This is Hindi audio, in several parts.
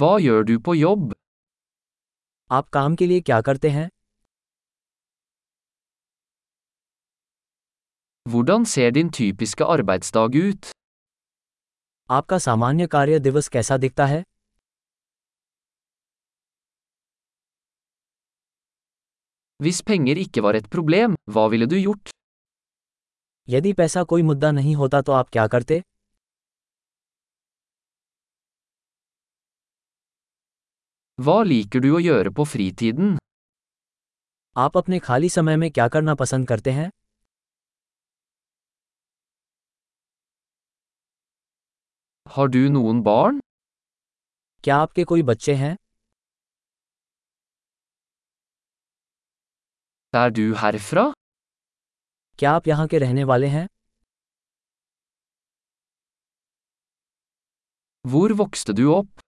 Hva gjør du på jobb? आप काम के लिए क्या करते हैं Hvordan ser din typiske arbeidsdag ut? आपका सामान्य कार्य दिवस कैसा दिखता है Hvis penger ikke var et problem, hva ville du gjort? यदि पैसा कोई मुद्दा नहीं होता तो आप क्या करते Hva liker du å gjøre på fritiden? आप अपने खाली समय में क्या करना पसंद करते हैं Har du noen barn? क्या आपके कोई बच्चे हैं Er du herfra? क्या आप यहाँ के रहने वाले हैं Hvor vokste du opp?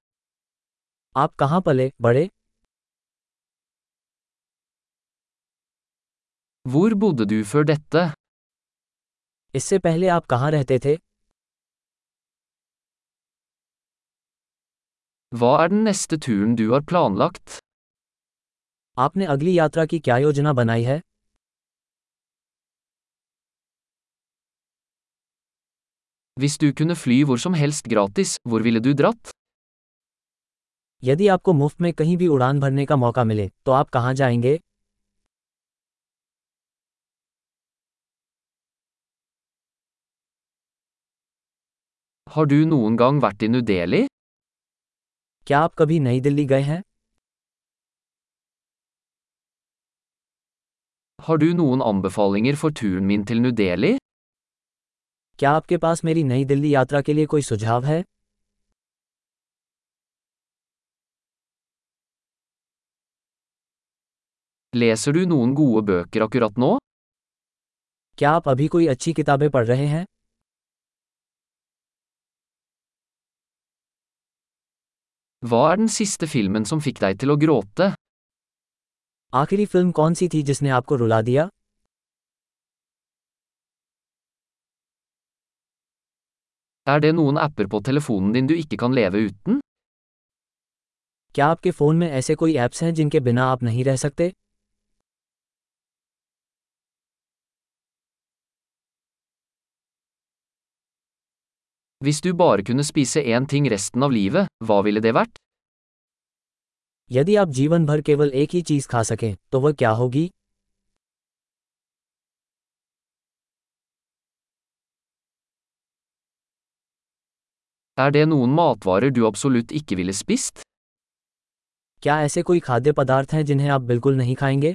आप कहाँ पले बड़े Hvor bodde du før dette? इससे पहले आप कहाँ रहते थे Hva er den neste turen du har planlagt? आपने अगली यात्रा की क्या योजना बनाई है Hvis du kunne fly hvor som helst gratis, hvor ville du dratt? यदि आपको मुफ्त में कहीं भी उड़ान भरने का मौका मिले तो आप कहाँ जाएंगे Har du noen gang vært i New Delhi? क्या आप कभी नई दिल्ली गए हैं Har du noen anbefalinger for turen min til New Delhi? क्या आपके पास मेरी नई दिल्ली यात्रा के लिए कोई सुझाव है Leser du noen gode bøker akkurat nå? क्या आप अभी कोई अच्छी किताबें पढ़ रहे हैं Hva er den siste filmen som fikk deg til å gråte? आखिरी फिल्म कौन सी थी जिसने आपको रुला दिया Er det noen apper på telefonen din du ikke kan leve uten? क्या आपके फ़ोन में ऐसे कोई ऐप्स हैं जिनके बिना आप नहीं रह सकते Hvis du bare kunne spise én ting resten av livet, hva ville det vært? यदि आप जीवन भर केवल एक ही चीज़ खा सकें तो वह क्या होगी Er det noen matvarer du absolutt ikke ville spist? क्या ऐसे कोई खाद्य पदार्थ हैं जिन्हें आप बिल्कुल नहीं खाएंगे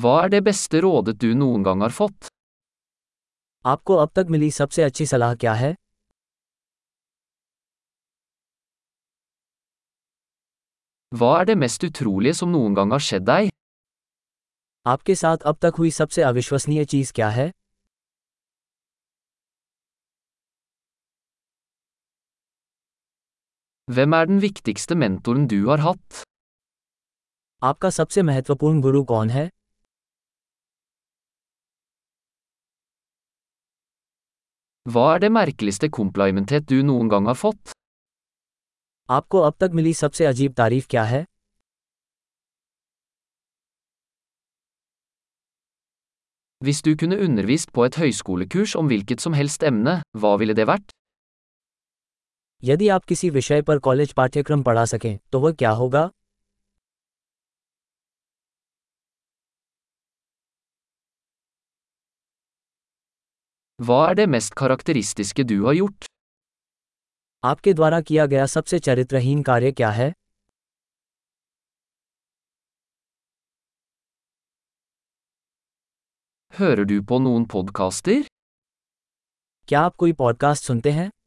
Hva er det beste rådet du noen gang har fått? आपको अब तक मिली सबसे अच्छी सलाह क्या है Hva er det mest utrolige som noen gang har skjedd deg? आपके साथ अब तक हुई सबसे अविश्वसनीय चीज़ क्या है Hvem er den viktigste mentoren du har hatt? आपका सबसे महत्वपूर्ण गुरु कौन है Hva er det merkeligste komplimentet du noen gang har fått? आपको अब तक मिली सबसे अजीब तारीफ क्या है Hvis du kunne undervist på et høyskolekurs om hvilket som helst emne, hva ville det vært? यदि आप किसी विषय पर कॉलेज पाठ्यक्रम पढ़ा सकें तो वह क्या होगा Hva er det mest karakteristiske du har gjort? आपके द्वारा किया गया सबसे चरित्रहीन कार्य क्या है Hører du på noen podkaster? क्या आप कोई पॉडकास्ट सुनते हैं